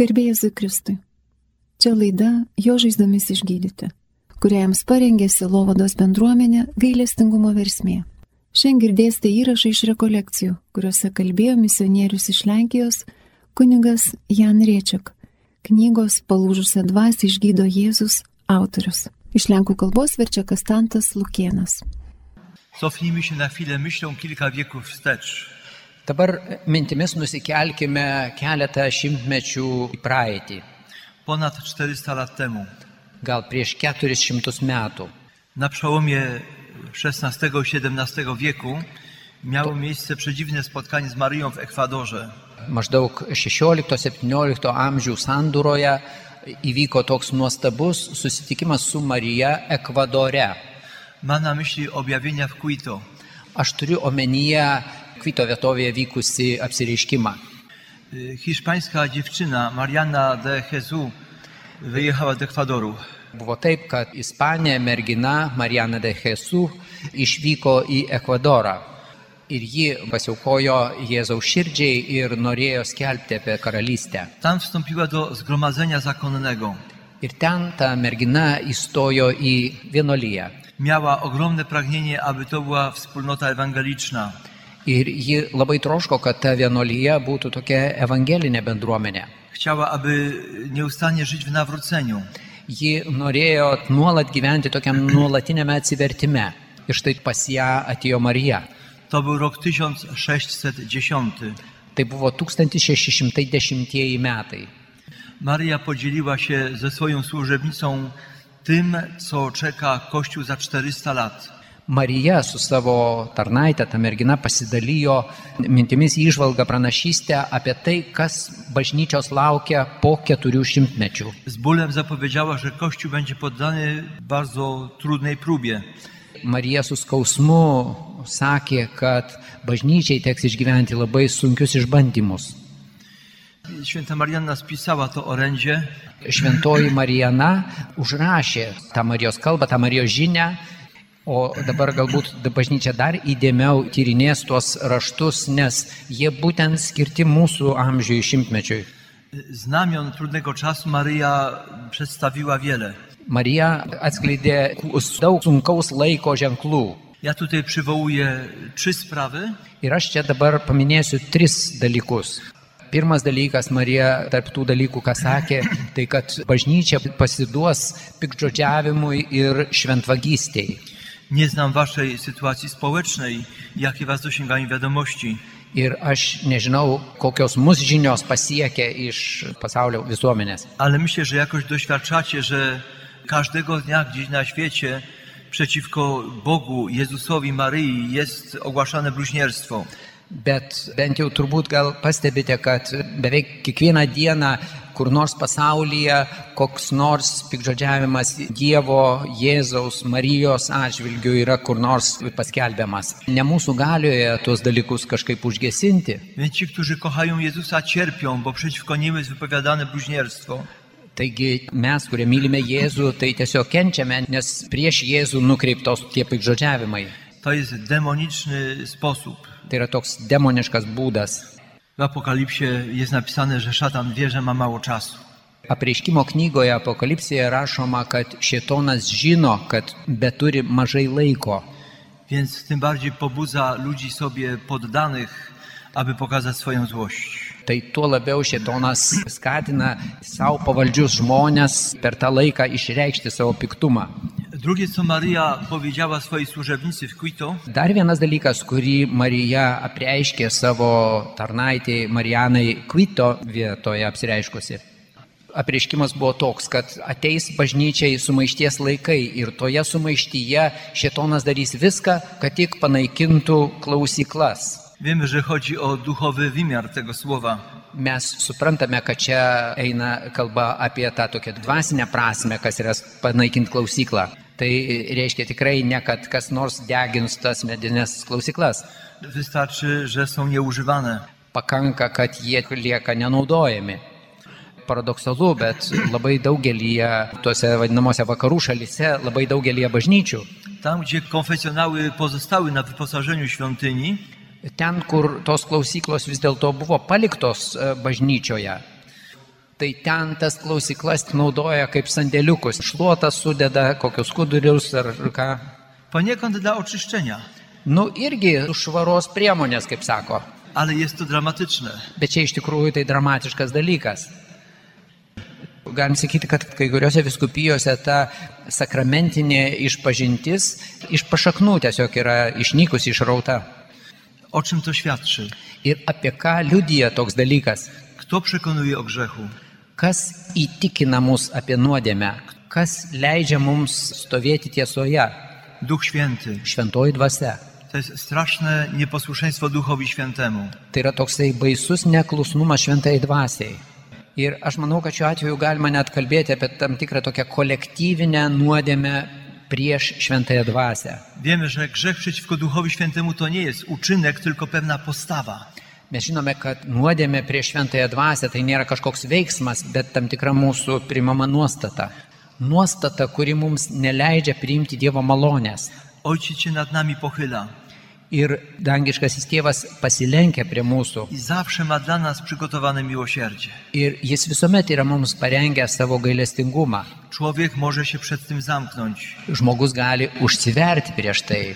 Garbėjai Zikristui. Čia laida Jo žaizdomis išgydyti, kurią jums parengė Silovados bendruomenė gailestingumo versmė. Šiandien girdėsite įrašą iš rekolekcijų, kuriuose kalbėjo misionierius iš Lenkijos kunigas Jan Riečiak, knygos Palūžusią dvasį išgydo Jėzus autorius. Iš lenkų kalbos verčia Kastantas Lukienas. Cofnijmy się na chwilę myślą kilka wieków wstecz. Dabar mintimis nusikelkime keletą šimtmečių į praeitį, Ponad 400 lat temu, gal prieš 400 metų. na przełomie XVI i XVII wieku, miało miejsce przedziwne spotkanie z Maryją w Ekwadorze. Maždaug 16-17 amžių sandūroje įvyko toks nuostabus susitikimas su Marija Ekvadore. Ma na myśli objawienia w Quito. Aš turiu omenyje Kvito vietovėje vykusi apsireiškimą. Y, Hiszpańska dziewczyna Mariana de Jesus wyjechała do Ekwadoru. Buvo taip, kad Ispanė mergina Mariana de Jesu išvyko į Ekvadorą ir ji pasiaukojo Jėzaus širdžiai ir norėjo skelbti apie karalystę. Tam wstąpiła do zgromadzenia zakonnego. Ir ten ta mergina įstojo į vienolyje. Miała ogromne pragnienie, aby to była wspólnota ewangeliczna. Ir ji labai troško, kad ta vienolyje būtų tokia evangelinė bendruomenė. Chciała, aby nieustannie żyć w nawróceniu. Ji norėjo nuolat gyventi tokiam nuolatinėme atsivertime. Ir štai pas ją atėjo Marija. To był rok 1610. Tai buvo 1610 metai. Maria podzieliła się ze swoją służebnicą tym, co czeka Kościół za 400 lat. Marija su savo tarnaitė, ta mergina pasidalijo mintimis įžvalgą pranašystę apie tai, kas bažnyčios laukia po keturių šimtmečių. Z bólem zapowiedziała, że Kościół będzie poddany bardzo trudnej próbie. Marija su skausmu sakė, kad bažnyčiai teks išgyventi labai sunkius išbandymus. Święta Marianna spisała to orędzie Šventoji Marijana užrašė tą Marijos kalbą, tą Marijos žinę, o dabar galbūt da- bažnyčia dar įdėmiau tyrinės tuos raštus, nes jie būtent skirti mūsų amžiui šimtmečiui. Znamion trudnego czasu Maryja przedstawiła wiele. Marija atskleidė daug sunkaus laiko ženklų. Ja tutaj przywołuję trzy sprawy. Ir aš čia dabar paminėsiu tris dalykus. Pirmas dalykas, Marija, tarp tų dalykų, ką sakė, tai kad bažnyčia pasiduos pikdžodžiavimui ir šventvagystiai. Nie znam waszej sytuacji społecznej, jakie was dosięgają wiadomości. Ir aš nežinau, kokios mūsų žinios pasiekia iš pasaulio visuomenės. Ale myślę, że jakoś doświadczacie, że każdego dnia gdzieś na świecie przeciwko Bogu, Jezusowi, Maryi jest ogłaszane bluźnierstwo. Bet bent jau turbūt gal pastebite, kad beveik kiekvieną dieną kur nors pasaulyje koks nors pikdžodžiavimas Dievo, Jėzaus, Marijos atžvilgių yra kur nors paskelbiamas. Ne mūsų galioje tuos dalykus kažkaip užgesinti. Więc ci, którzy kochają Jezusa, cierpią, bo przeciwko nim jest wypowiadane bluźnierstwo. Taigi mes, kurie mylime Jėzų, tai tiesiog kenčiame, nes prieš Jėzų nukreiptos tie pikdžodžiavimai. To jest demoniczny sposób. Tai yra toks demoniškas būdas. W Apokalipsie jest napisane, że szatan wie, że ma mało czasu. Apreiškimo knygoje Apokalipsėje rašoma, kad šitonas žino, kad beturi mažai laiko. Więc tym bardziej pobudza ludzi sobie poddanych, aby pokazać swoją złość. Tai tuo labiau šitonas skatina savo pavaldžius žmonės per tą laiką išreikšti savo piktumą. Drugie, co Maryja powiedziała swojej służebnicy w Quito, Dar vienas dalykas, kurį Marija apreiškė savo tarnaitėjai Marijanai Kvito vietoje apsireiškusi. Apreiškimas buvo toks, kad ateis bažnyčiai sumaišties laikai ir toje sumaištyje šitonas darys viską, kad tik panaikintų klausyklas. Wiemy, że chodzi o duchowy wymiar tego słowa. Mes suprantame, kad čia eina kalba apie tą tokią dvasinę prasme, kas yra panaikinti klausyklą. Tai reiškia tikrai ne, kad kas nors degins tas medinės klausyklas. Wystarczy, że są nieużywane. pakanka, kad jie lieka nenaudojami. Paradoksalu, bet labai daugelį tuose vadinamosi vakarų šalyse, labai daugelį bažnyčių. Tam, gdzie konfesjonały pozostały na wyposażeniu świątyni, Ten, kur tos klausyklos vis dėlto buvo paliktos e, bažnyčioje, tai ten tas klausyklas naudoja kaip sandėliukus. Šluotas sudeda, kokius kudurius ar ką. Poniekąd dla oczyszczenia, Nu irgi švaros priemonės, kaip sako. ale jest to dramatyczne. Bet čia iš tikrųjų tai dramatiškas dalykas. Galim sakyti, kad kai kuriuose viskupijose ta sakramentinė išpažintis iš pašaknų tiesiog yra išnykusi, išrauta. O czym to świadczy? Ir apie ką liudija toks dalykas? Kto przekonuje o grzechu? Kas įtikina mus apie nuodėmę? Kas leidžia mums stovėti tiesoje? Duch Święty. Šventoji dvasia. To jest straszne nieposłuszeństwo Duchowi Świętemu. Tai yra toksai baisus neklusnumas šventai dvasiai. Ir aš manau, kad šiuo atveju galima net kalbėti apie tam tikrą tokią kolektyvinę nuodėmę prieš šventąją dvasę. Wiemy, że grzech przeciwko Duchowi Świętemu to nie jest uczynek, tylko pewna postawa. Mes žinome, kad nuodėmė prieš šventąją dvasę tai nėra kažkoks veiksmas, bet tam tikra mūsų primama nuostata. Nuostata, kuri mums neleidžia priimti Dievo malonės. Ojciec się nad nami pochyla Ir dangiškasis tėvas pasilenkia prie mūsų. i zawsze ma dla nas przygotowane miłosierdzie. Ir jis visuomet yra mums parengęs savo gailestingumą. Człowiek może się przed tym zamknąć. žmogus gali užsiverti prieš tai.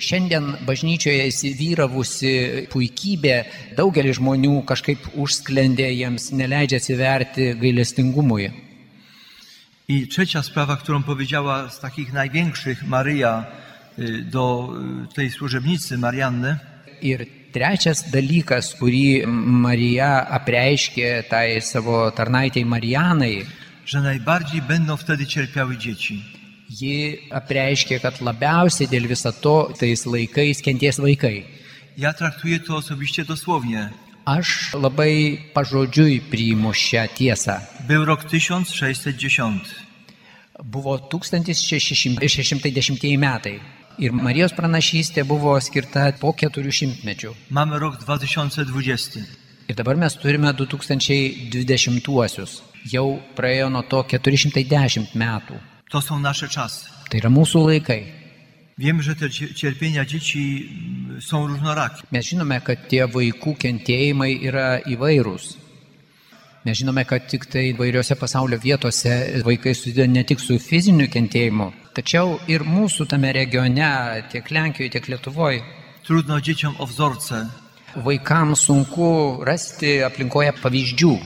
Šiandien bažnyčioje įsivyravusi puikybė daugelį žmonių kažkaip užsklendė, jiems neleidžia atsiverti gailestingumui. I trzecia sprawa, którą powiedziała z takich największych Maryja y, do y, tej służebnicy Marianny, Ir trečias dalykas, kurį Marija apreiškė tai savo tarnaitėjai Marijanai, że najbardziej będą wtedy cierpiały dzieci. ji apreiškė, kad labiausiai dėl viso to tais laikais kenties vaikai. Ja traktuję to osobiście dosłownie. Aš labai pažodžiui priimu šią tiesą. Był rok 1610. Buvo 1610 metai ir Marijos pranašystė buvo skirta po 400 mečių. Mamy rok 2020. Ir dabar mes turime 2020-uosius. Jau praėjo nuo to 410 metų. To są nasze czasy. Tai yra mūsų laikai. Wiem, że te cie- cierpienia dzieci mm, są różnorakie. Mes žinome, kad tie vaikų kentėjimai yra įvairūs. Mes žinome, kad tik tai įvairiose pasaulio vietose vaikai susiduria ne tik su fiziniu kentėjimu, tačiau ir mūsų tame regione, tiek Lenkijoje, tiek Lietuvoje, Trudno dzieciom o wzorce. Vaikams sunku rasti aplinkoje pavyzdžių.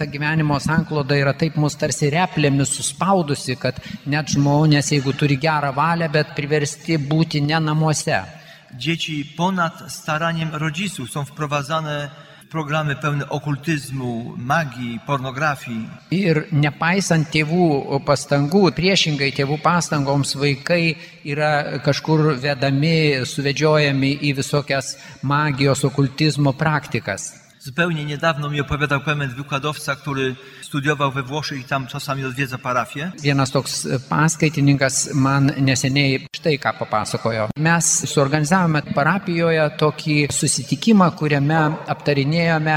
Ta gyvenimo sankloda yra taip mus tarsi replėmis suspaudusi, kad net žmonės, jeigu turi gerą valią, bet priversti būti ne namuose. Dzieci ponad staraniem rodziców są wprowadzane w programy pełne okultyzmu, magii, pornografii. Ir nepaisant tėvų pastangų, priešingai tėvų pastangoms vaikai yra kažkur vedami, suvedžiojami į visokias magijos, okultizmo praktikas. Zupełnie niedawno mi opowiadał pewien wykładowca, który studiował we Włoszech i tam czasami odwiedza parafię. Vienas toks e, paskaitininkas man neseniai štai ką papasakojo. Mes suorganizavome parapijoje tokį susitikimą, kuriame aptarinėjome,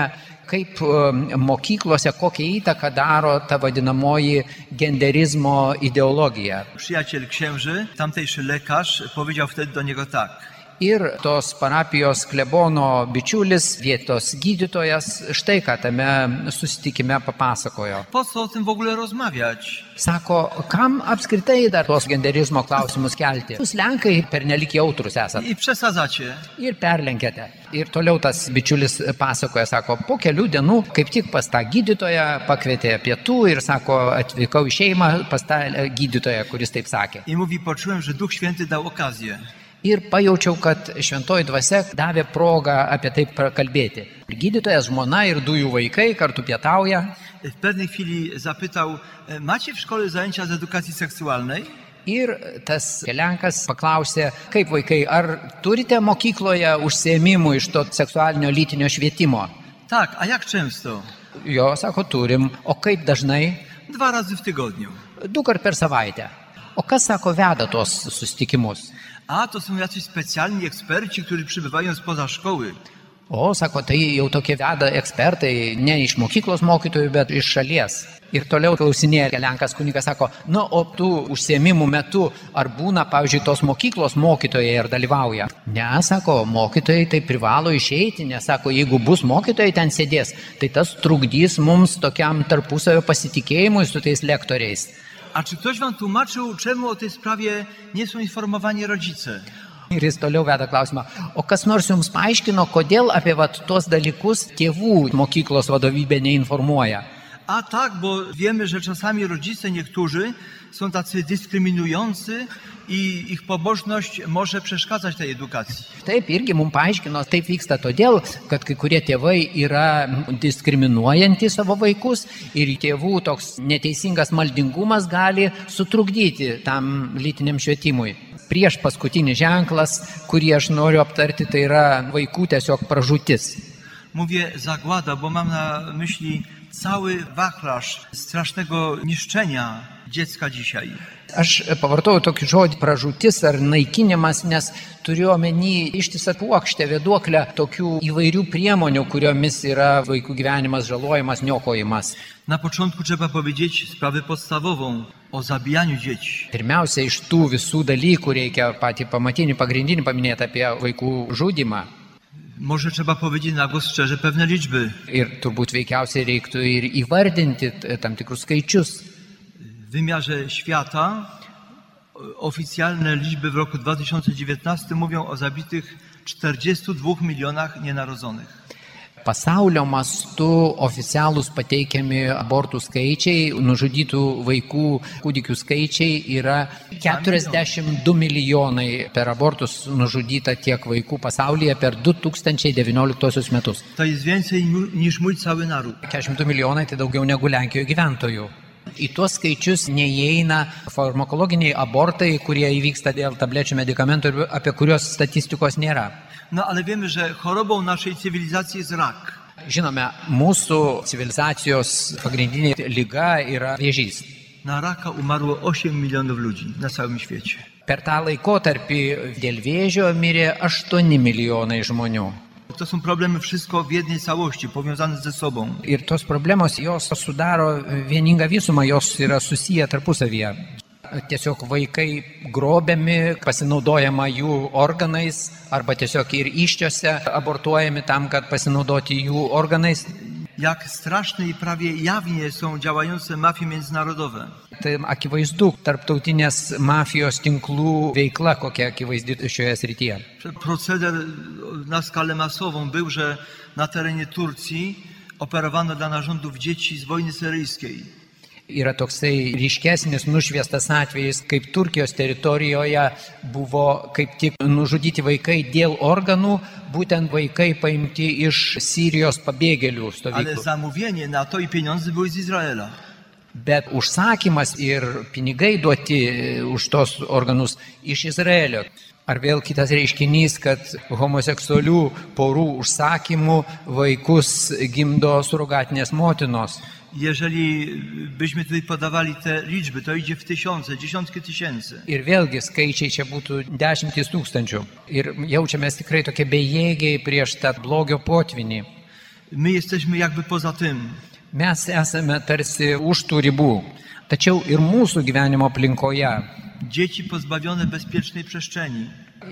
kaip e, mokyklose kokią įtaką daro ta vadinamoji genderizmo ideologija. Przyjaciel księży, tamtejszy lekarz, powiedział wtedy do niego tak. Ir tos parapijos klebono bičiulis, vietos gydytojas, štai ką tame susitikime papasakojo. Po co o tym w ogóle rozmawiać? Sako, kam apskritai dar tuos genderizmo klausimus kelti? Jūs lenkai pernelik jautrus esate. I przesadzacie. Ir perlenkėte. Ir toliau tas bičiulis pasakoja, sako, po kelių dienų kaip tik pas tą gydytoją pakvietė pietų ir sako, atvykau į šeimą pas tą e, gydytoją, kuris taip sakė. I mówi, poczułem, że Duch Święty dał okazję. Ir pajaučiau, kad šventoji dvasia davė progą apie tai kalbėti. Gydytojas, žmona ir du jų vaikai kartu pietauja. W pewnej chwili zapytał, "E, macie w szkole zajęcia z edukacji seksualnej? Ir tas Lenkas paklausė, kaip vaikai, ar turite mokykloje užsiemimų iš to seksualinio lytinio švietimo? Tak, a jak często? Jo, sako, turim. O kaip dažnai? Dwa razy w tygodniu. Du kart per savaitę. O kas sako veda tuos susitikimus? A, to są jacyś specjalni eksperci, którzy przybywają spoza szkoły. O, sako, tai jau tokie veda ekspertai, ne iš mokyklos mokytojų, bet iš šalies. Ir toliau klausinėja Lenkas kunigas, sako, nu, o tų užsiemimų metu ar būna, pavyzdžiui, tos mokyklos mokytojai ir dalyvauja? Ne, sako, mokytojai tai privalo išeiti, nes sako, jeigu bus mokytojai ten sėdės, tai tas trukdys mums tokiam tarpusavio pasitikėjimui su tais lektoriais. A czy ktoś wam tłumaczył, czemu o tej sprawie nie są informowani rodzice? Ir jis toliau veda klausimą, o kas nors jums paaiškino, kodėl apie vat, tuos dalykus tėvų mokyklos vadovybė neinformuoja? A tak, bo wiemy, że czasami rodzice niektórzy są tacy dyskryminujący i ich pobożność może przeszkadzać tej edukacji. Taip, irgi mums paaiškino, taip vyksta todėl, kad kai kurie tėvai yra diskriminuojantys savo vaikus ir tėvų toks neteisingas maldingumas gali sutrukdyti tam lytiniam švietimui. Prieš paskutinis ženklas, kurį aš noriu aptarti, tai yra vaikų tiesiog pražūtis. Mówię zagłada, bo mam na myśli cały wachlarz strasznego niszczenia dziecka dzisiaj. Aš pavartojau tokį žodį pražūtis ar naikinimas, nes turiu omeny ištisą puokštę, vėduoklę tokių įvairių priemonių, kuriomis yra vaikų gyvenimas žalojimas, niokojimas. Na początku trzeba powiedzieć sprawę podstawową o zabijaniu dzieci. Pirmiausia, iš tų visų dalykų reikia patį pamatinį, pagrindinį paminėti apie vaikų žudimą. Może trzeba powiedzieć na głos szczerze pewne liczby. Ir turbūt veikiausiai reiktų ir įvardinti t- tam tikrus skaičius. W wymiarze świata o- oficjalne liczby w roku 2019 mówią o zabitych 42 milionach nienarodzonych. Pasaulio mastu oficialūs pateikiami abortų skaičiai, nužudytų vaikų kūdikių skaičiai yra 42 milijonai per abortus nužudyta tiek vaikų pasaulyje per 2019 metus. To jest więcej niu- niż mój cały naród. 42 milijonai tai daugiau negu Lenkijoje gyventojų. Į tuos skaičius neįeina farmakologiniai abortai, kurie įvyksta dėl tablečių medikamentų, ir apie kuriuos statistikos nėra. No ale wiemy, że chorobą naszej cywilizacji jest rak. Žinome, mūsų civilizacijos pagrindinė lyga yra vėžys. Na raka umarło 8 milionów ludzi na całym świecie. Per tą laikotarpį dėl vėžio mirė 8 milijonai žmonių. To są problemy wszystko w jednej całości, powiązane ze sobą. Ir tos problemos, jos sudaro vieningą visumą, jos yra susiję tarpusavyje. Tiesiog vaikai grobiami, pasinaudojama jų organais arba tiesiog ir iščiose abortuojami tam, kad pasinaudoti jų organais. Jak straszne i prawie jawnie są działające mafie międzynarodowe. Tai akivaizdu tarptautinės mafijos tinklų veikla, kokia akivaizdi šioje srityje. Proceder na skalę masową był, że na terenie Turcji operowano dla narządów dzieci z wojny syryjskiej. Yra toksai ryškesnis nušviestas atvejis, kaip Turkijos teritorijoje buvo kaip tik nužudyti vaikai dėl organų, būtent vaikai paimti iš Sirijos pabėgėlių Ale stovyklų. zamówienie na to i pieniądze były z Izraela. Bet užsakymas ir pinigai duoti e, už tos organus iš Izraelio. Ar vėl kitas reiškinys, kad homoseksualių porų užsakymų vaikus gimdo surogatinės motinos. Jeżeli byśmy tutaj podawali te liczby, to idzie w tysiące, dziesiątki tysięcy. Ir vėlgi skaičiai čia būtų dešimtys tūkstančių. Ir jaučiamės tikrai tokie bejėgiai prieš tą blogio potvinį. My jesteśmy jakby poza tym. Mes esame tarsi už tų ribų. Tačiau ir mūsų gyvenimo aplinkoje Dzieci pozbawione bezpiecznej przestrzeni.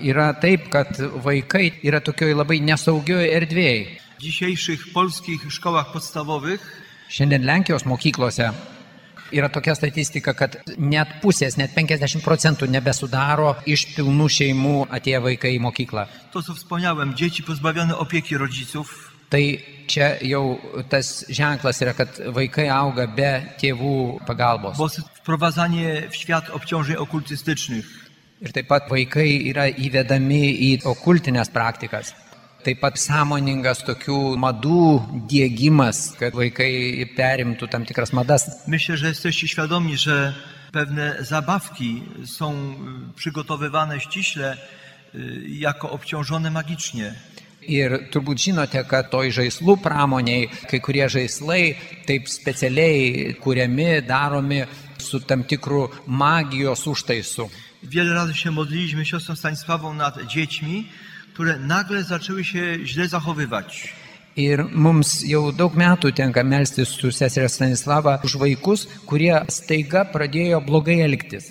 yra taip, kad vaikai yra tokioj labai nesaugioje erdvėje. W dzisiejszych polskich szkołach podstawowych Šiandien Lenkijos mokyklose yra tokia statistika, kad net pusės, net 50 procentų nebesudaro iš pilnų šeimų atėję vaikai į mokyklą. to, co wspomniałem, dzieci pozbawione opieki rodziców, Tai čia jau tas ženklas yra, kad vaikai auga be tėvų pagalbos. bo wprowadzanie w świat obciążeń okultystycznych. Ir taip pat vaikai yra įvedami į okultinės praktikas. Taip pat sąmoningas tokių madų dėgymas, kad vaikai perimtų tam tikras madas. Myślę, że jesteście świadomi, że pewne zabawki są y, przygotowywane ściśle y, jako obciążone magicznie. Ir turbūt žinote, kad toj žaislų pramoniai kai kurie žaislai taip specialiai kuriami, daromi su tam tikru magijos užtaisu. Wiele razy się modliliśmy siostrą Stanisławą nad dziećmi, które nagle zaczęły się źle zachowywać. Ir mums jau daug metų tenka melstis su seserė Stanislava už vaikus, kurie staiga pradėjo blogai elgtis.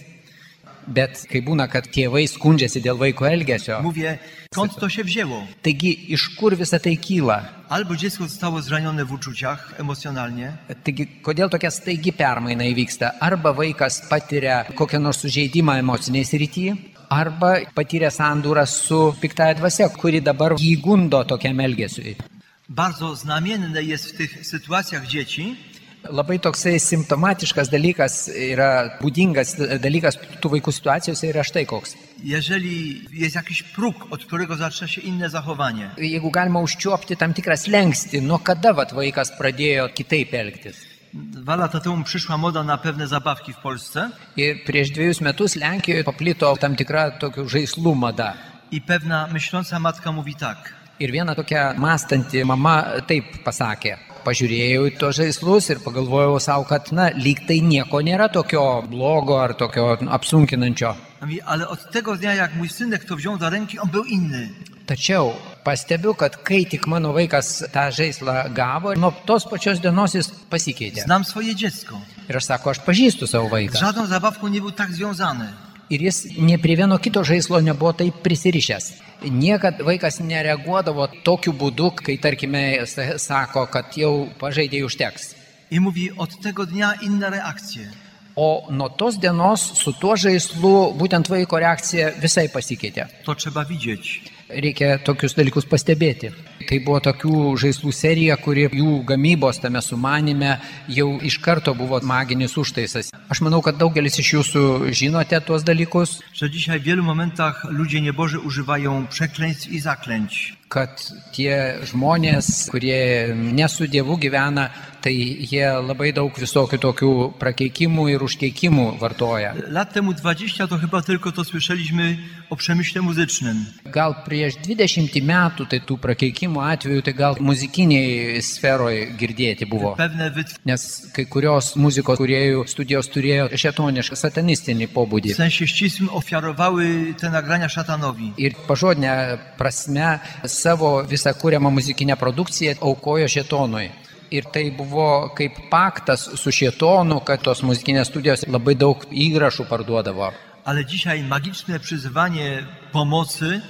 Bet kai būna, kad tėvai skundžiasi dėl vaiko elgesio, Mówię, skąd to się wzięło? taigi iš kur visa tai kyla? Albo dziecko zostało zranione w uczuciach emocjonalnie, Taigi, kodėl tokia staigi permaina įvyksta? Arba vaikas patiria kokią nors sužeidimą emociniai srityje, arba patiria sandūrą su piktąją dvasia, kuri dabar jį gundo tokiam elgesiui. Bardzo znamienne jest w tych sytuacjach dzieci, Labai toksai simptomatiškas dalykas yra būdingas dalykas tų vaikų situacijose yra štai koks. jeżeli jest jakiś próg, od którego zaczyna się inne zachowanie. Jeigu galima užčiuopti tam tikras lengsti, nuo kada vat vaikas pradėjo kitaip elgtis. Dwa lata temu przyszła moda na pewne zabawki w Polsce Ir prieš dviejus metus Lenkijoje paplito tam tikra tokių žaislų mada. i pewna myśląca matka mówi tak. Ir viena tokia mąstanti mama taip pasakė. Pažiūrėjau į tos žaislus ir pagalvojau savo, kad, na, lyg tai nieko nėra tokio blogo ar tokio nu, apsunkinančio. Ona Mówi, ale od tego dnia, jak mój synek to wziął do ręki, on był inny. Tačiau pastebiu, kad kai tik mano vaikas tą žaislą gavo, nuo tos pačios dienos jis pasikeitė. Znam swoje dziecko. Ir aš sako, aš pažįstu savo Z vaiką. żadną zabawką nie był tak związany. Ir jis ne prie vieno kito žaislo nebuvo taip prisirišęs. Niekad vaikas nereaguodavo tokiu būdu, kai tarkime sa- sako, kad jau pažaidėjai užteks. I mówi, od tego dnia inne reakcje. O nuo tos dienos su tuo žaislu būtent vaiko reakcija visai pasikeitė. To trzeba widzieć. Reikia tokius dalykus pastebėti. Tai buvo tokių žaislų serija, kuri jų gamybos tame sumanime jau iš karto buvo maginis užtaisas. Aš manau, kad daugelis iš jūsų žinote tuos dalykus, Że dzisiaj w wielu momentach ludzie nieboży używają przekleństw i zaklęć. kad tie žmonės, kurie nesu dievų gyvena, tai jie labai daug visokių tokių prakeikimų ir užkeikimų vartoja. Lat temu 20 to chyba tylko to słyszeliśmy o przemyśle muzycznym. Gal prieš 20 metų, tai tų prakeikimų atveju, tai gal muzikiniai sferoje girdėti buvo. Pewne wytwórnie, Nes kai kurios muzikos kuriejų studijos turėjo šetonišką, satanistinį w pobūdį. sensie ścisłym ofiarowały te nagrania szatanowi. Ir pažodinę prasme savo visą kūriamą muzikinę produkciją aukojo šetonui. Ir tai buvo kaip paktas su šetonu, kad tos muzikinės studijos labai daug įrašų parduodavo. Ale dzisiaj magiczne przyzywanie pomocy,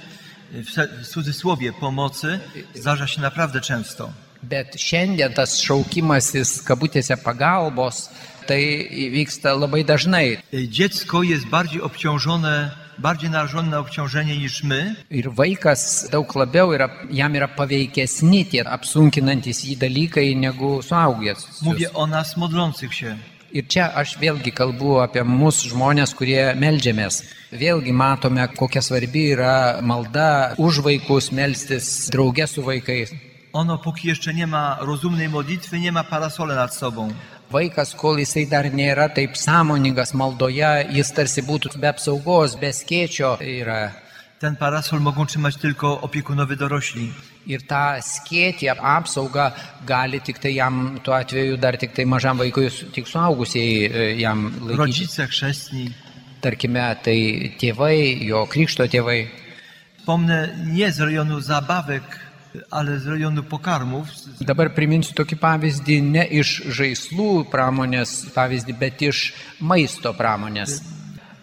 w se- w cudzysłowie pomocy, zdarza się naprawdę często. Bet šiandien tas šaukimasis, kabutėse pagalbos, tai vyksta labai dažnai. E, Dziecko jest bardziej obciążone, bardziej narażone na obciążenie niż my, Ir vaikas daug labiau yra, jam yra paveikesni tie apsunkinantis jį dalykai negu suaugęs. Mówię o nas modlących się. Ir čia aš vėlgi kalbu apie mus žmonės, kurie melžiamės. Vėlgi matome, kokia svarbi yra malda už vaikus, melstis drauge su vaikais. Ono póki jeszcze nie ma rozumnej modlitwy, nie ma parasola nad sobą. Vaikas, kol jisai dar nėra taip sąmoningas maldoje, jis tarsi būtų be apsaugos, be skėčio yra. Ten parasol mogą trzymać tylko opiekunowie dorośli. Ir tą skėtį, apsaugą gali tik tai jam, tuo atveju dar tik tai mažam vaikui, su- tik suaugusiai e, jam laikyti. Rodzice chrzestni. Tarkime, tai tėvai, jo krikšto tėvai. Wspomnę nie z rejonu zabawek, ale z rejonu pokarmów. Z- z- Dabar priminsiu tokį pavyzdį ne iš žaislų pramonės pavyzdį, bet iš maisto pramonės.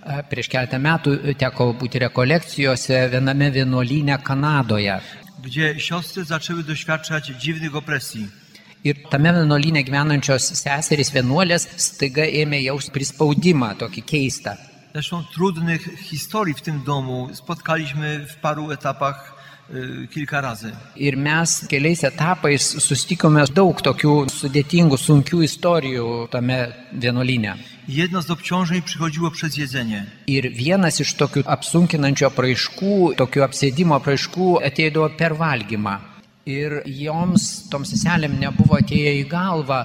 E, Prieš keletą metų teko būti rekolekcijose viename vienuolyne Kanadoje. Gdzie siostry zaczęły doświadczać dziwnych opresji. Ir tame vienuolyne gyvenančios seserys vienuolės staiga ėmė jausti prispaudimą tokį keistą. Zresztą trudnych historii w tym domu spotkaliśmy w paru etapach y, kilka razy. Ir mes keliais etapais sustikome daug tokių sudėtingų, sunkių istorijų tame vienuolyne. Jedno z obciążeń przychodziło przez jedzenie. Ir vienas iš tokių apsunkinančių apraiškų, tokių apsėdimo apraiškų ateidavo per valgymą. Ir joms, toms seselėm, nebuvo atėję į galvą,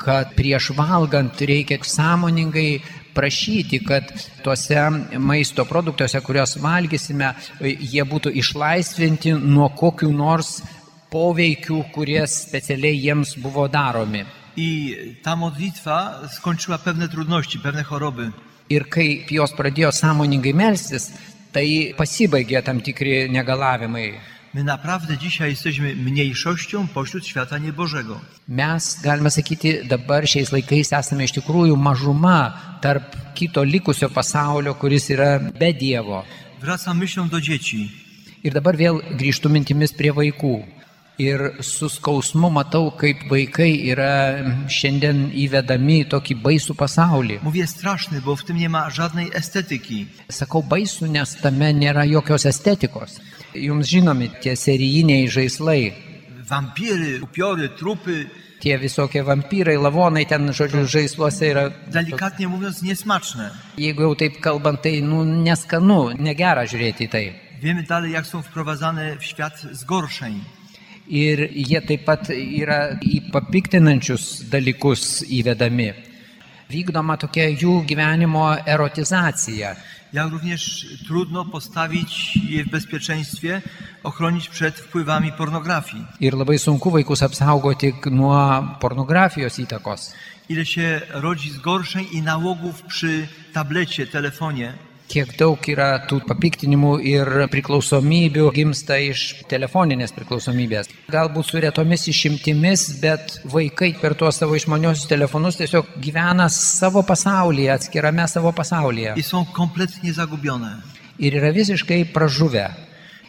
kad prieš valgant reikia sąmoningai prašyti, kad tuose maisto produktuose, kuriuos valgysime, jie būtų išlaisvinti nuo kokių nors poveikių, kurie specialiai jiems buvo daromi. I ta modlitwa skończyła pewne trudności, pewne choroby. Ir kai jos pradėjo sąmoningai melstis, tai pasibaigė tam tikri negalavimai. My naprawdę dzisiaj jesteśmy mniejszością pośród świata niebożego. Mes, galime sakyti, dabar šiais laikais esame iš tikrųjų mažuma tarp kito likusio pasaulio, kuris yra be Dievo. Wracam myślą do dzieci. Ir dabar vėl grįžtų mintimis prie vaikų. Ir su skausmu matau, kaip vaikai yra šiandien įvedami į tokį baisų pasaulį. Mówię straszny, bo w tym nie ma żadnej estetyki. Sakau baisų, nes tame nėra jokios estetikos. Jums žinomi tie serijiniai žaislai, Wampiry, upiory, trupy, tie visokie vampyrai, lavonai ten, žodžiu, žaisluose yra. delikatnie mówiąc, niesmaczne. Jeigu jau taip kalbant, tai nu, neskanu, negera žiūrėti į tai. Wiemy dalej, jak są wprowadzane w świat zgorszeń. Ir jie taip pat yra į papiktinančius dalykus įvedami. Vykdoma tokia jų gyvenimo erotizacija. Jak również trudno postawić je w bezpieczeństwie, ochronić przed wpływami pornografii. Ir labai sunku vaikus apsaugoti nuo pornografijos įtakos. Ile się rodzi zgorszeń i nałogów przy tablecie, telefonie. Kiek daug yra tų papiktinimų ir priklausomybių gimsta iš telefoninės priklausomybės. Galbūt su retomis išimtimis, bet vaikai per tuos savo išmaniosius telefonus tiesiog gyvena savo pasaulyje, atskirame savo pasaulyje. i są kompletnie zagubione. ir yra visiškai pražuvę.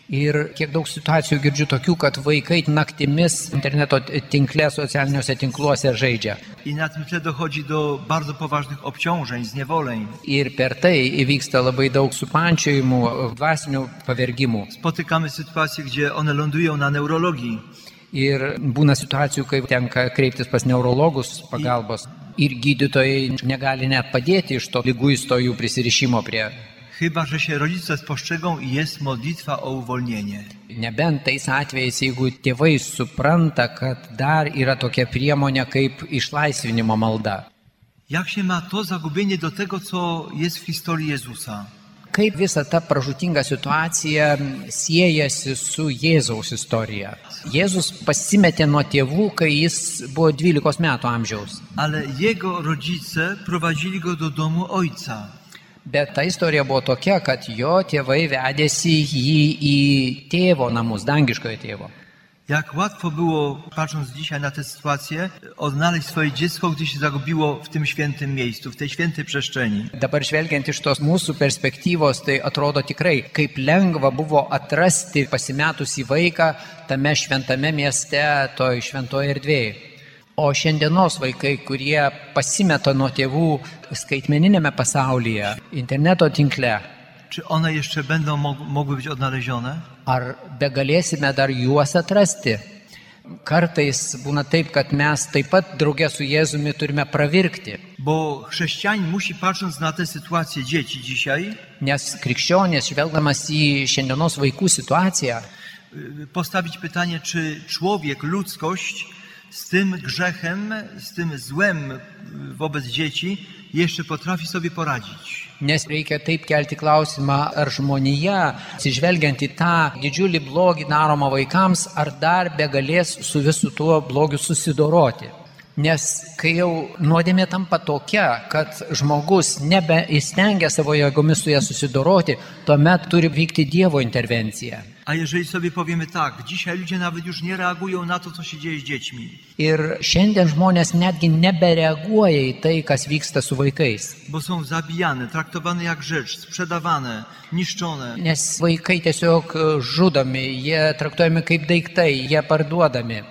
Ir kiek daug situacijų girdžiu tokių, kad vaikai naktimis interneto tinkle, socialiniuose tinkluose žaidžia. I na tym tle dochodzi do bardzo poważnych obciążeń, zniewoleń. Ir per tai įvyksta labai daug supančiojimų, dvasinių pavergimų. Spotykamy sytuacje, gdzie one lądują na neurologii. Ir būna situacijų, kai tenka kreiptis pas neurologus pagalbos. Ir gydytojai negali net padėti iš to lyguisto jų prisirišimo prie. Chyba, że się rodzice spostrzegą i jest modlitwa o uwolnienie. Nebent tais atvejais, jeigu tėvai supranta, kad dar yra tokia priemonė kaip išlaisvinimo malda. Jak się ma to zagubienie do tego, co jest w historii Jezusa? Kaip visa ta pražutinga situacija siejasi su Jėzaus istorija? Jėzus pasimetė nuo tėvų, kai jis buvo 12 metų amžiaus. Ale jego rodzice prowadzili go do domu ojca. Bet ta istorija buvo tokia, kad jo tėvai vedėsi jį į tėvo namus, dangiškojo tėvo. Jak łatwo było, patrząc dzisiaj na tę sytuację, odnaleźć swoje dziecko, gdy się zagubiło w tym świętym miejscu, w tej świętej przestrzeni. Dabar žvelgiant iš tos mūsų perspektyvos, tai atrodo tikrai, kaip lengva buvo atrasti pasimetusį vaiką tame šventame mieste, toj šventoje erdvėje. O šiandienos vaikai, kurie pasimeta nuo tėvų skaitmeninėme pasaulyje, interneto tinkle, Czy one jeszcze będą mog- mogły być odnalezione? ar begalėsime dar juos atrasti? Kartais būna taip, kad mes taip pat draugė su Jėzumi turime pravirkti. Bo chrześcijanin musi, patrząc na tę sytuację dzieci dzisiaj, Nes krikščionės, žvelgdamas į šiandienos vaikų situaciją, y, postawić pytanie, czy człowiek, ludzkość z tym grzechem, z tym złem y, wobec dzieci jeszcze potrafi sobie poradzić. Nes reikia taip kelti klausimą, ar žmonija, atsižvelgiant į tą didžiulį blogį daromą vaikams, ar dar begalės su visu tuo blogiu susidoroti. Nes kai jau nuodėmė tampa tokia, kad žmogus nebeįstengia savo jėgomis su ja susidoroti, tuomet turi vykti Dievo intervencija. A jeżeli sobie powiemy tak, dzisiaj ludzie nawet już nie reagują na to, co się dzieje z dziećmi, Ir šiandien žmonės netgi nebereaguoja į tai, kas vyksta su vaikais. bo są zabijane, traktowane jak rzecz, sprzedawane, niszczone. Nes vaikai tiesiog e, žudomi, jie traktuojami kaip daiktai, jie parduodami.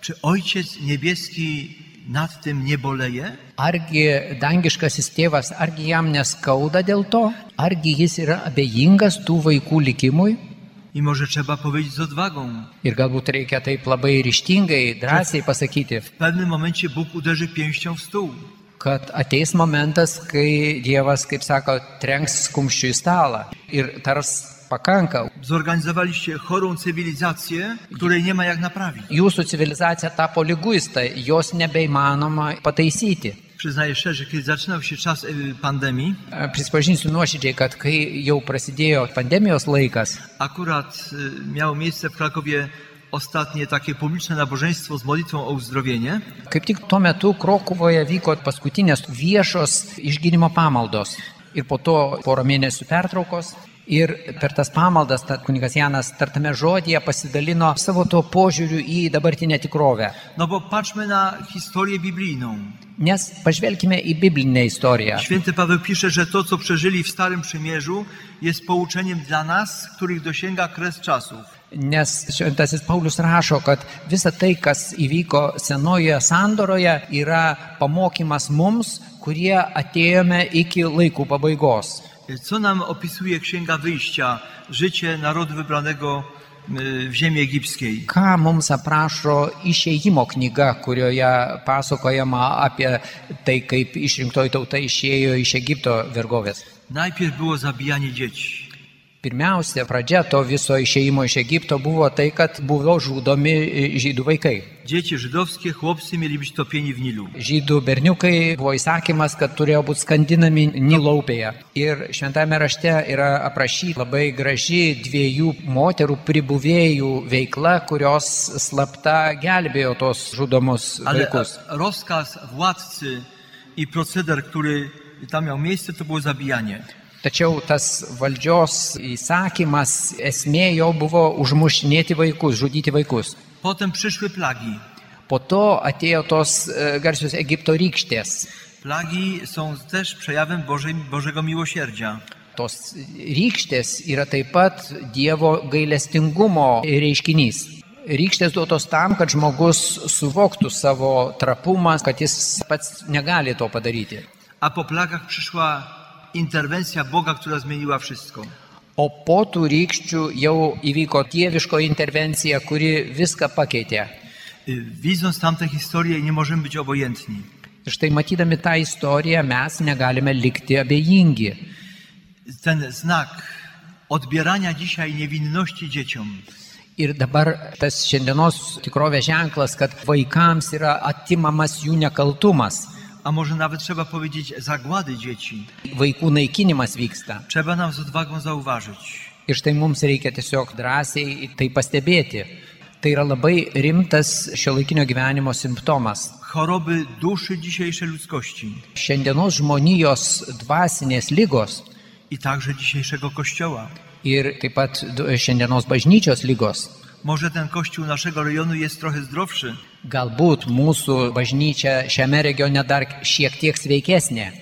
Czy Ojciec Niebieski nad tym nie boleje? Argi dangiškasis tėvas, argi jam neskauda dėl to, argi jis yra abejingas tų vaikų likimui? I może trzeba powiedzieć z odwagą, Ir galbūt reikia taip labai ryštingai, drąsiai pasakyti, W pewnym momencie Bóg uderzy pięścią w stół. kad ateis momentas, kai Dievas, kaip sako, trenks kumščiu į stalą ir tars pakanka. Zorganizowaliście chorą cywilizację, której nie ma jak naprawić. Jūsų civilizacija tapo lyguista, jos nebeįmanoma pataisyti. Przyznaję szczerze, kiedy zaczynał się czas y, pandemii, E, Prisipažinsiu nuoširdžiai, kad kai jau prasidėjo pandemijos laikas, akurat y, miało miejsce w Krakowie ostatnie takie publiczne nabożeństwo z modlitwą o uzdrowienie. Kaip tik tuo metu Krokuvoje vyko paskutinės viešos išgydymo pamaldos. Ir po to porą mėnesių pertraukos. Ir per tas pamaldas ta, kunigas Janas tartame žodėje pasidalino savo tuo požiūriu į dabartinę tikrovę. No bo patrzmy na historię biblijną. Nes pažvelkime į biblinę istoriją. Święty Paweł pisze, że to, co przeżyli w Starym Przymierzu, jest pouczeniem dla nas, których dosięga kres czasów. Nes šventasis Paulius rašo, kad visa tai, kas įvyko senoje sandoroje, yra pamokymas mums, kurie atėjome iki laikų pabaigos. Y, Co nam opisuje Księga Wyjścia, życie narodu wybranego y, w ziemi egipskiej? Ką mums aprašo išėjimo knyga, kurioje pasakojama apie tai, kaip išrinktoji tauta išėjo iš Egipto vergovės. Najpierw było zabijanie dzieci. Pirmiausia, pradžia to viso išėjimo iš Egipto buvo tai, kad buvo žudomi e, žydų vaikai. Dzieci żydowskie, chłopcy mieli być topieni w Nilu. Žydų berniukai buvo įsakymas, kad turėjo būti skandinami Nilaupėje. Ir šventame rašte yra aprašyta labai graži dviejų moterų pribuvėjų veikla, kurios slapta gelbėjo tos žudomus Ale vaikus. a- rozkaz władcy i proceder, który tam miał miejsce, to było zabijanie. Tačiau tas valdžios įsakymas esmė jo buvo užmušinėti vaikus, žudyti vaikus. Potem przyszły plagi. Po to atėjo tos e, garsios Egipto rykštės. Plagi są też przejawem Bożej, Bożego miłosierdzia. Tos rykštės yra taip pat Dievo gailestingumo reiškinys. Rykštės duotos tam, kad žmogus suvoktų savo trapumą, kad jis pats negali to padaryti. A po plagach przyszła interwencja Boga, która zmieniła wszystko. O po tų rykščių jau įvyko dieviško intervencija, kuri viską pakeitė. Y, Widząc tamte historie, nie możemy być obojętni. Ir štai matydami tą istoriją mes negalime likti abejingi. Ten znak odbierania dzisiaj niewinności dzieciom Ir dabar tas šiandienos tikrovės ženklas, kad vaikams yra atimamas jų nekaltumas. a może nawet trzeba powiedzieć zagłady dzieci. Vaikų naikinimas vyksta. Trzeba nam z odwagą zauważyć. Ir štai mums reikia tiesiog drąsiai tai pastebėti. Tai yra labai rimtas šio laikinio gyvenimo simptomas. Choroby duszy dzisiejszej ludzkości Šiandienos žmonijos dvasinės lygos i także dzisiejszego Kościoła. ir taip pat du- šiandienos bažnyčios lygos. Może ten Kościół naszego rejonu jest trochę zdrowszy, Galbūt mūsų bažnyčia šiame regione dar šiek tiek sveikesnė,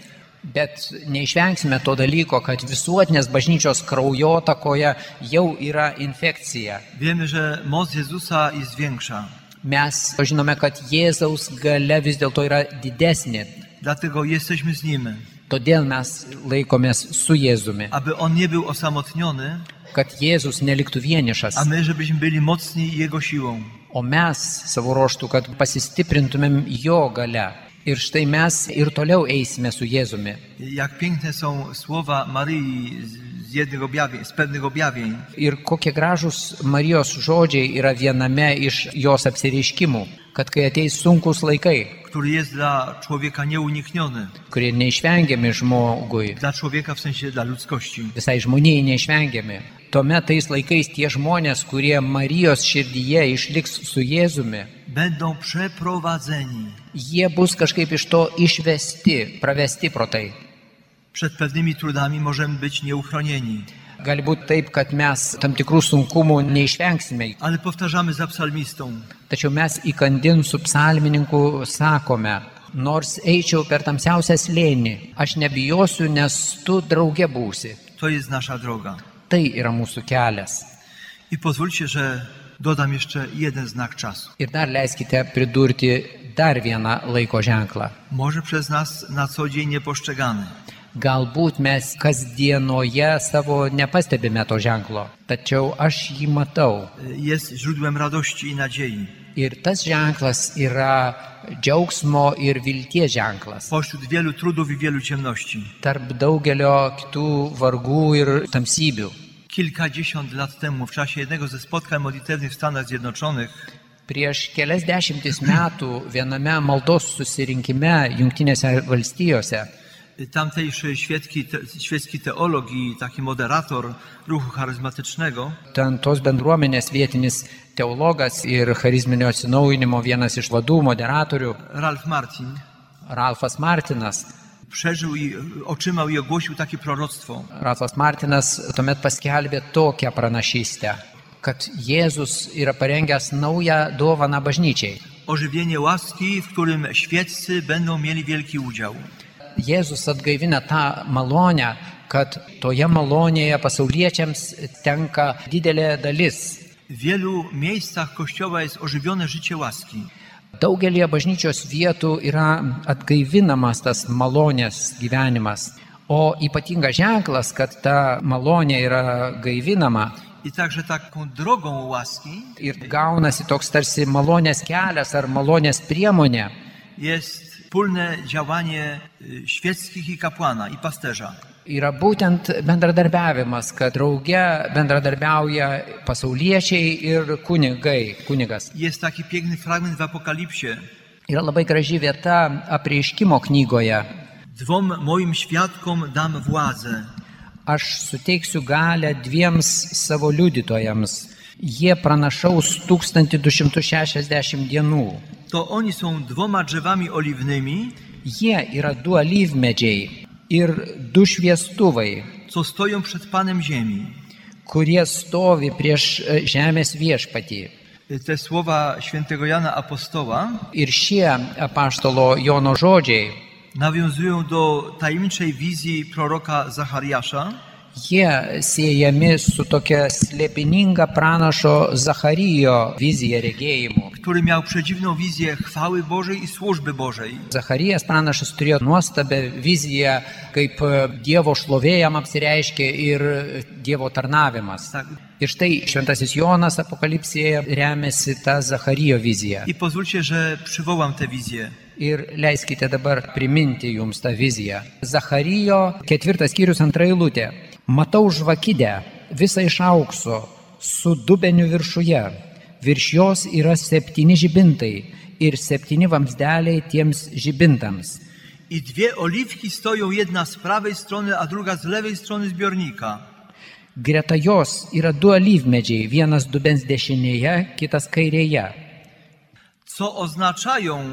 bet neišvengsime to dalyko, kad visuotinės bažnyčios kraujotakoje jau yra infekcija. Wiemy, że moc Jezusa jest większa. Mes žinome, kad Jėzaus gale vis dėlto yra didesnė, Dlatego jesteśmy z Nim, Todėl mes laikomės su Jėzumi, aby On nie był osamotniony, kad Jėzus neliktų vienišas, a my, żebyśmy byli mocni Jego siłą. o mes savo ruoštų, kad pasistiprintumėm Jo gale. Ir štai mes ir toliau eisime su Jėzumi. Jak piękne są słowa Maryi z- z, jednych objawień, z pewnych objawień. Ir kokie gražūs Marijos žodžiai yra viename iš jos apsireiškimų, kad kai ateis sunkus laikai, który jest dla człowieka nieunikniony. kurie neišvengiami žmogui, Dla człowieka w sensie dla ludzkości. visai žmonijai neišvengiami, tuomet tais laikais tie žmonės, kurie Marijos širdyje išliks su Jėzumi, Będą przeprowadzeni jie bus kažkaip iš to išvesti, pravesti pro tai. przed pewnymi trudami, możemy być nieuchronieni. Gali būti taip, kad mes tam tikrų sunkumų neišvengsime, Ale powtarzamy za psalmistą. tačiau mes įkandin su psalmininku sakome, nors eičiau per tamsiausią slėnį, aš nebijosiu, nes tu drauge būsi. To jest nasza droga. Tai yra mūsų kelias. I pozwólcie, że dodam jeszcze jeden znak czasu. Ir dar leiskite pridurti dar vieną laiko ženklą. Może przez nas na co dzień niepostrzegany. Galbūt mes kasdienoje savo nepastebime to ženklo, tačiau aš jį matau. Jest źródłem radości i nadziei. Ir tas ženklas yra džiaugsmo ir vilties ženklas. Pośród wielu trudów i wielu ciemności. Tarp daugelio kitų vargų ir tamsybių. Kilkadziesiąt lat temu, w czasie jednego ze spotkań modlitewnych w Stanach Zjednoczonych, Prieš kelias dešimtis metų viename maldos susirinkime Junktinėse valstijose Tamtejszy świecki, te, świecki teolog i taki moderator ruchu charyzmatycznego ten tos bendruomenės vietinis teologas ir charizminio atsinaujinimo vienas iš vadų moderatorių Ralph Martin Ralfas Martinas przeżył i otrzymał i ogłosił takie proroctwo. Ratas Martinas tuomet paskelbė tokią pranašystę, kad Jėzus yra parengęs naują dovaną bažnyčiai. Ożywienie łaski, w którym świeccy będą mieli wielki udział. Jėzus atgaivina tą malonę, kad toje malonėje pasauliečiams tenka didelė dalis. W wielu miejscach Kościoła jest ożywione życie łaski. Daugelie bažnyčios vietų yra atgaivinamas tas malonės gyvenimas. O ypatingas ženklas, kad ta malonė yra gaivinama I także taką drogą łaski ir gaunasi toks tarsi malonės kelias ar malonės priemonė, jest wspólne działanie y, świeckich i kapłana, i pasterza. yra būtent bendradarbiavimas, kad drauge bendradarbiauja pasauliečiai ir kunigai, kunigas. Jest taki piękny fragment w Apokalipsie. Yra labai graži vieta apreiškimo knygoje. Dwom moim świadkom dam władzę, Aš suteiksiu galę dviems savo liudytojams. Jie pranašaus 1260 dienų. to oni są dwoma drzewami oliwnymi, Jie yra du alyvmedžiai ir du šviestuvai, co stoją przed Panem Ziemi. kurie stovi prieš e, žemės viešpatį. Y, Te słowa świętego Jana Apostoła Ir šie apaštalo Jono žodžiai, nawiązują do tajemniczej wizji proroka Zachariasza, jie siejami su tokia slėpininga pranašo Zacharyjo vizija regėjimu. który miał przedziwną wizję chwały Bożej i służby Bożej. Zacharijas pranašas turėjo nuostabę viziją, kaip e, Dievo šlovėjam apsireiškė ir e, Dievo tarnavimas. Tak. Ir štai Šventasis Jonas apokalipsėje remiasi tą Zacharijo viziją. I pozwólcie, że przywołam tę wizję. Ir leiskite dabar priminti jums tą viziją. Zacharijo ketvirtas skyrius antra eilutė. Matau žvakidę, visą iš aukso, su dubeniu viršuje. Virš jos yra septyni žibintai ir septyni vamzdeliai tiems žibintams. I dwie oliwki stoją jedna z prawej strony, a druga z lewej strony zbiornika. Greta jos yra du alyvmedžiai, vienas dubens dešinėje, kitas kairėje. Co oznaczają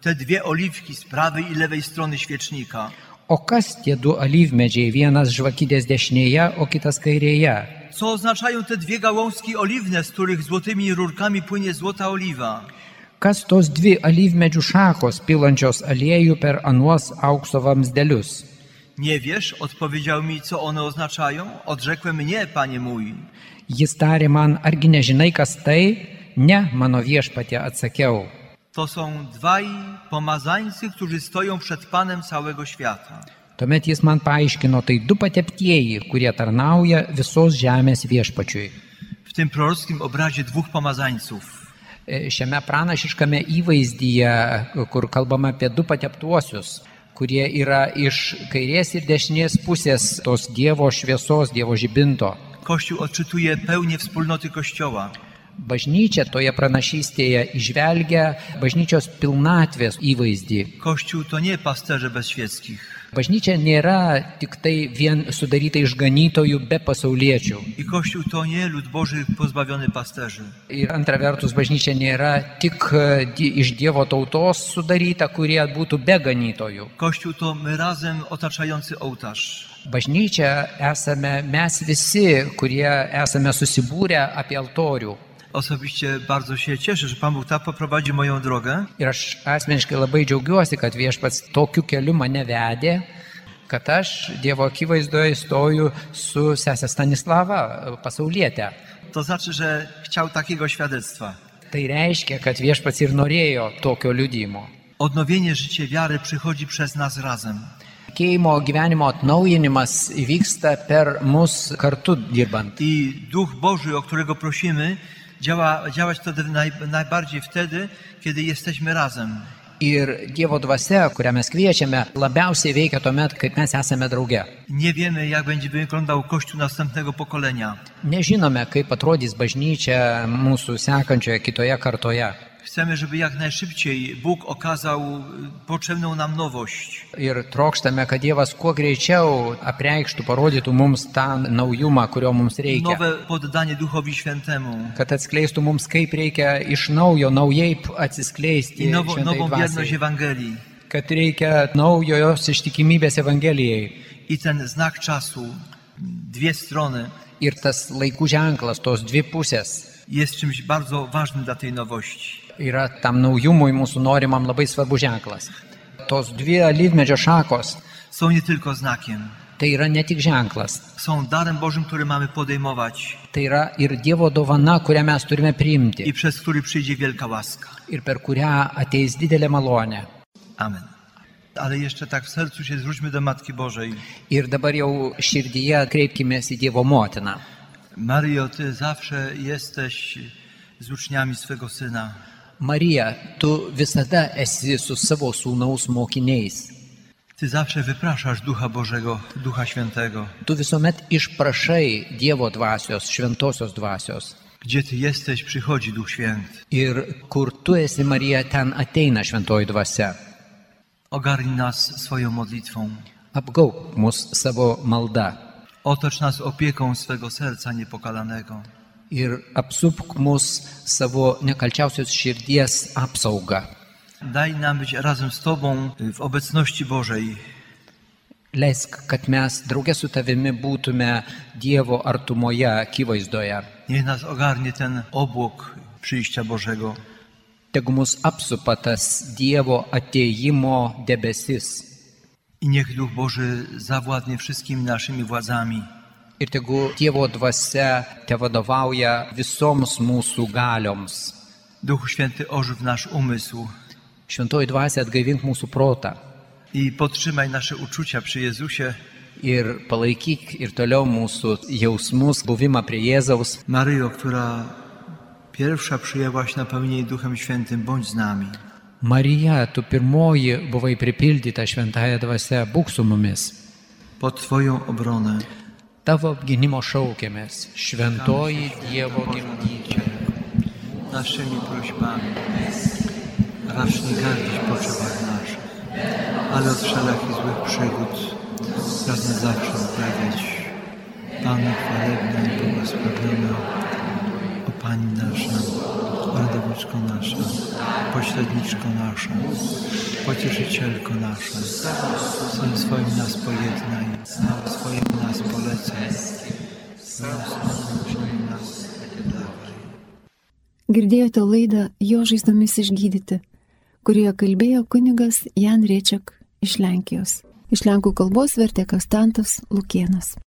te dwie oliwki z prawej i lewej strony świecznika? O kas tie du alyvmedžiai, vienas žvakidės dešinėje, o kitas kairėje? Co oznaczają te dwie gałązki oliwne, z których złotymi rurkami płynie złota oliwa? Kas tos dvi alyvmedžių šakos pilančios aliejų per anuos aukso vamzdelius? Nie wiesz, odpowiedział mi, co one oznaczają? Odrzekłem nie, panie mój. Jis tarė man, argi nežinai, kas tai? Ne, mano viešpatė atsakiau. To są dwaj pomazańcy, którzy stoją przed Panem całego świata. Tuomet jis man paaiškino, tai du pateptieji, kurie tarnauja visos žemės viešpačiui. W tym prorockim obrazie dwóch pomazańców. E, Šiame pranašiškame įvaizdyje, e, kur kalbama apie du pateptuosius, kurie yra iš kairės ir dešinės pusės tos Dievo šviesos, Dievo žibinto. Kościół odczytuje pełnię wspólnoty Kościoła. Bažnyčia toje pranašystėje išvelgia bažnyčios pilnatvės įvaizdį. Kościół to nie pasterze bezświeckich. Bažnyčia nėra tik tai vien sudaryta iš ganytojų be pasauliečių. I Kościół to nie lud Boży pozbawiony pasterzy. Ir antra vertus, bažnyčia nėra tik e, di- iš Dievo tautos sudaryta, kurie būtų be ganytojų. Kościół to my razem otaczający ołtarz. Bažnyčia esame mes visi, kurie esame susibūrę apie altorių. Osobiście bardzo się cieszę, że Pan Bóg tak poprowadzi moją drogę, Ir aš asmeniškai labai džiaugiuosi, kad viešpats tokiu keliu mane vedė, kad aš Dievo akivaizdoje stoju su sesė Stanislava, pasaulietė. to znaczy, że chciał takiego świadectwa. Tai reiškia, kad viešpats ir norėjo tokio liudymo. Odnowienie życia wiary przychodzi przez nas razem. Keimo gyvenimo atnaujinimas įvyksta per mus kartu dirbant. I Duch Boży, o którego prosimy, działa, działać wtedy naj, najbardziej wtedy, kiedy jesteśmy razem. Ir Dievo dvasia, kurią mes kviečiame, labiausiai veikia tuomet, kai mes esame drauge. Nie wiemy, jak będzie wyglądał Kościół następnego pokolenia. Nežinome, kaip atrodys bažnyčia mūsų sekančioje kitoje kartoje. Chcemy, żeby jak najszybciej Bóg okazał y, potrzebną nam nowość. Ir trokštame, kad Dievas kuo greičiau apreikštų, parodytų mums tą naujumą, kurio mums reikia. Nowe poddanie Duchowi Świętemu. Kad atskleistų mums, kaip reikia iš naujo, naujai I atsiskleisti, nowo, šventai nową dvasiai. wierność Ewangelii. kad reikia naujojos ištikimybės Evangelijai. I ten znak czasu, dwie strony, Ir tas laikų ženklas, tos dvi pusės, jest czymś bardzo ważnym dla tej nowości. yra tam naujumui mūsų norimam labai svarbu ženklas. Tos dvi alyvmedžio šakos, Są nie tylko znakiem, tai yra ne tik ženklas, są darem Bożym, który mamy podejmować tai yra ir Dievo dovana, kurią mes turime priimti i przez który przyjdzie wielka łaska. ir per kurią ateis didelė malonė. Amen. Ale jeszcze tak w sercu się zwróćmy do Matki Bożej. Ir dabar jau širdyje kreipkime į Dievo motiną. Mario, Ty zawsze jesteś z uczniami swego Syna. Marija, tu visada esi su savo sūnaus mokiniais. Ty zawsze wypraszasz Ducha Bożego, Ducha Świętego. Tu visuomet išprašai Dievo dvasios, šventosios dvasios. Gdzie Ty jesteś, przychodzi Duch Święty. Ir kur tu esi, Marija, ten ateina šventoji dvasia. Ogarnij nas swoją modlitwą. Apgauk mus savo malda Otocz nas opieką swego serca niepokalanego. ir apsupk mus savo nekalčiausios širdies apsauga. Daj nam być razem z Tobą y, w obecności Bożej. Leisk, kad mes draugė su tavimi būtume Dievo artumoje, akivaizdoje. Niech nas ogarnie ten obłok przyjścia Bożego. Tegu mus apsupa tas Dievo ateimo debesis. I niech Duch Boży zawładnie wszystkimi naszymi władzami. Ir tegu Dievo dvasia te vadovauja visoms mūsų galioms. Duchu Święty ożyw nasz umysł Šventoji dvasia atgaivink mūsų protą i podtrzymaj nasze uczucia przy Jezusie. ir palaikyk ir toliau mūsų jausmus, buvimą prie Jėzaus. Maryjo, która pierwsza przyjęłaś napełnienie Duchem Świętym, bądź z nami. Marija, tu pirmoji buvai pripildyta šventąją dvasia, būk su mumis. Pod Twoją obronę. Tavo apginimo šaukėmės, šventoji Dievo gimdyčia. naszymi prośbami. Racz nie gardzić potrzebach naszych, ale od wszelakich złych przygód pragnę zawsze uprawiać Panu chwalebne i błogosławione. O Pani nasza, Ordowiczko nasza, Pośredniczko nasza, Pocieszycielko nasza, Sen swoim nas pojednaj, na swoim nas polecaj, swoim nas dawaj. Girdėjote laidą Jo žaizdomis išgydyti, kurioje kalbėjo kunigas Jan Riečiak iš Lenkijos. Iš Lenkų kalbos vertė Kastantas Lukienas.